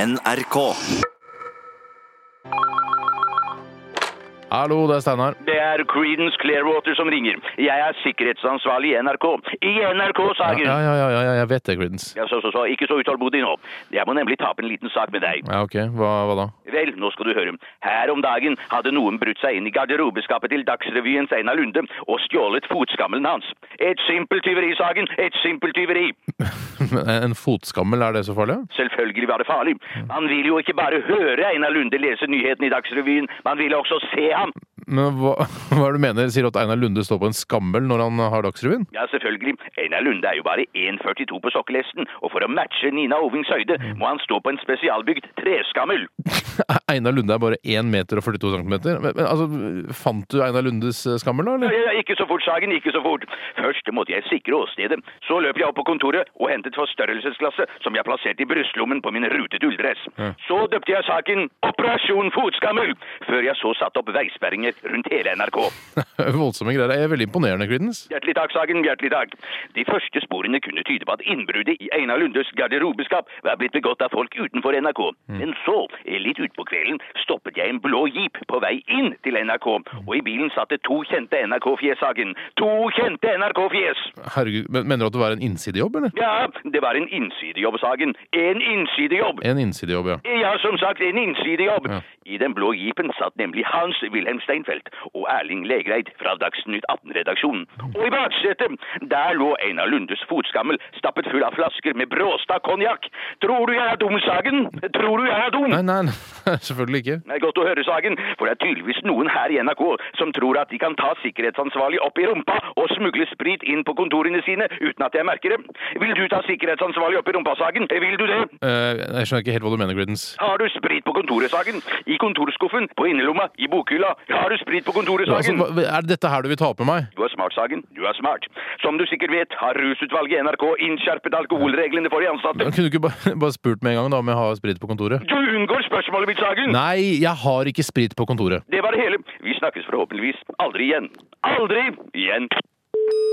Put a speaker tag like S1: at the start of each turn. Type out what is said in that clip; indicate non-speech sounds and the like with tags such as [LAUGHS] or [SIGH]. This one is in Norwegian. S1: NRK.
S2: Hallo, det er Steinar.
S3: Det er Creedence Clearwater som ringer. Jeg er sikkerhetsansvarlig i NRK. I NRK,
S2: Ja,
S3: Sagen!
S2: ja, ja, ja, ja, jeg vet det, Creedence.
S3: Ja, så, så, så, ikke så utålmodig nå. Jeg må nemlig ta opp en liten sak med deg.
S2: Ja, ok. Hva, hva da? [LAUGHS]
S3: Vel, nå skal du høre. Her om dagen hadde noen brutt seg inn i garderobeskapet til Dagsrevyens Einar Lunde og stjålet fotskammelen hans. Et simpelt tyveri, Sagen! Et simpelt tyveri!
S2: En fotskammel, er det så farlig?
S3: Selvfølgelig var det farlig. Man vil jo ikke bare høre Einar Lunde lese nyheten i Dagsrevyen, man vil også se ham.
S2: Men hva, [LAUGHS] hva er det du mener? Sier du at Einar Lunde står på en skammel når han har Dagsrevyen? [LAUGHS]
S3: Ja, selvfølgelig. Einar Lunde er jo bare 1,42 på sokkelesten, og for å matche Nina Ovings høyde må han stå på en spesialbygd treskammel.
S2: Einar Lunde er bare 1 meter og 42 centimeter. Men, men altså, fant du Einar Lundes eh, skammel, da,
S3: Ja,
S2: eller?
S3: ja, Ikke så fort, Sagen, ikke så fort. Først måtte jeg sikre åstedet. Så løp jeg opp på kontoret og hentet forstørrelsesglasset som jeg plasserte i brystlommen på min rutete ulldress. Så døpte jeg saken Operasjon Fotskammel, før jeg så satte opp veisperringer rundt hele NRK.
S2: [LAUGHS] Voldsomme greier. Det er veldig imponerende, Creedence.
S3: Hjertelig takk, Sagen, hjertelig takk. De første sporene kunne tyde på at innbruddet i Einar Lundes garderobeskap var blitt begått av folk utenfor NRK. Men så, litt utpå kvelden, stoppet jeg en blå jeep på vei inn til NRK, og i bilen satt det to kjente NRK-fjes, Sagen. To kjente NRK-fjes!
S2: Herregud, men Mener du at det var en innsidejobb, eller?
S3: Ja, det var en innsidejobb, Sagen. En innsidejobb!
S2: En innsidejobb, ja.
S3: Ja, som sagt, en innsidejobb.
S2: Ja.
S3: I den blå jeepen satt nemlig Hans Wilhelm Steinfeld og Erling Legreid fra Dagsnytt 18-redaksjonen. Og i baksetet, der lå Einar Lundes fotskammel stappet full av flasker med Bråstad konjakk. Tror du jeg er dum, Sagen? Tror du jeg er dum?
S2: Nei, nei, nei, [LAUGHS] selvfølgelig ikke.
S3: Det er godt å høre, Sagen, for det er tydeligvis noen her i NRK som tror at de kan ta sikkerhetsansvarlig opp i rumpa og smugle sprit inn på kontorene sine uten at jeg merker det. Vil du ta sikkerhetsansvarlig opp i rumpa, Sagen? Vil du det?
S2: Eh, jeg skjønner ikke helt hva du mener, Creedence.
S3: Har du sprit på kontoret, Sagen? I kontorskuffen, på innerlomma, i bokhylla. Har du sprit på kontoret,
S2: Altså,
S3: Sagen?
S2: hva- er det dette her du vil ta opp med meg?
S3: Du er smart, Sagen. Du er smart. Som du sikkert vet, har rusutvalget i NRK innskjerpet alkoholreglene for de ansatte.
S2: Kunne du ikke bare, [LAUGHS] bare spurt med en gang da, om jeg har sprit på kontoret?
S3: Du unngår spørsmålet mitt, Sagen!
S2: Nei, jeg har ikke sprit på kontoret.
S3: Det var det hele. Vi snakkes forhåpentligvis aldri igjen. Aldri igjen!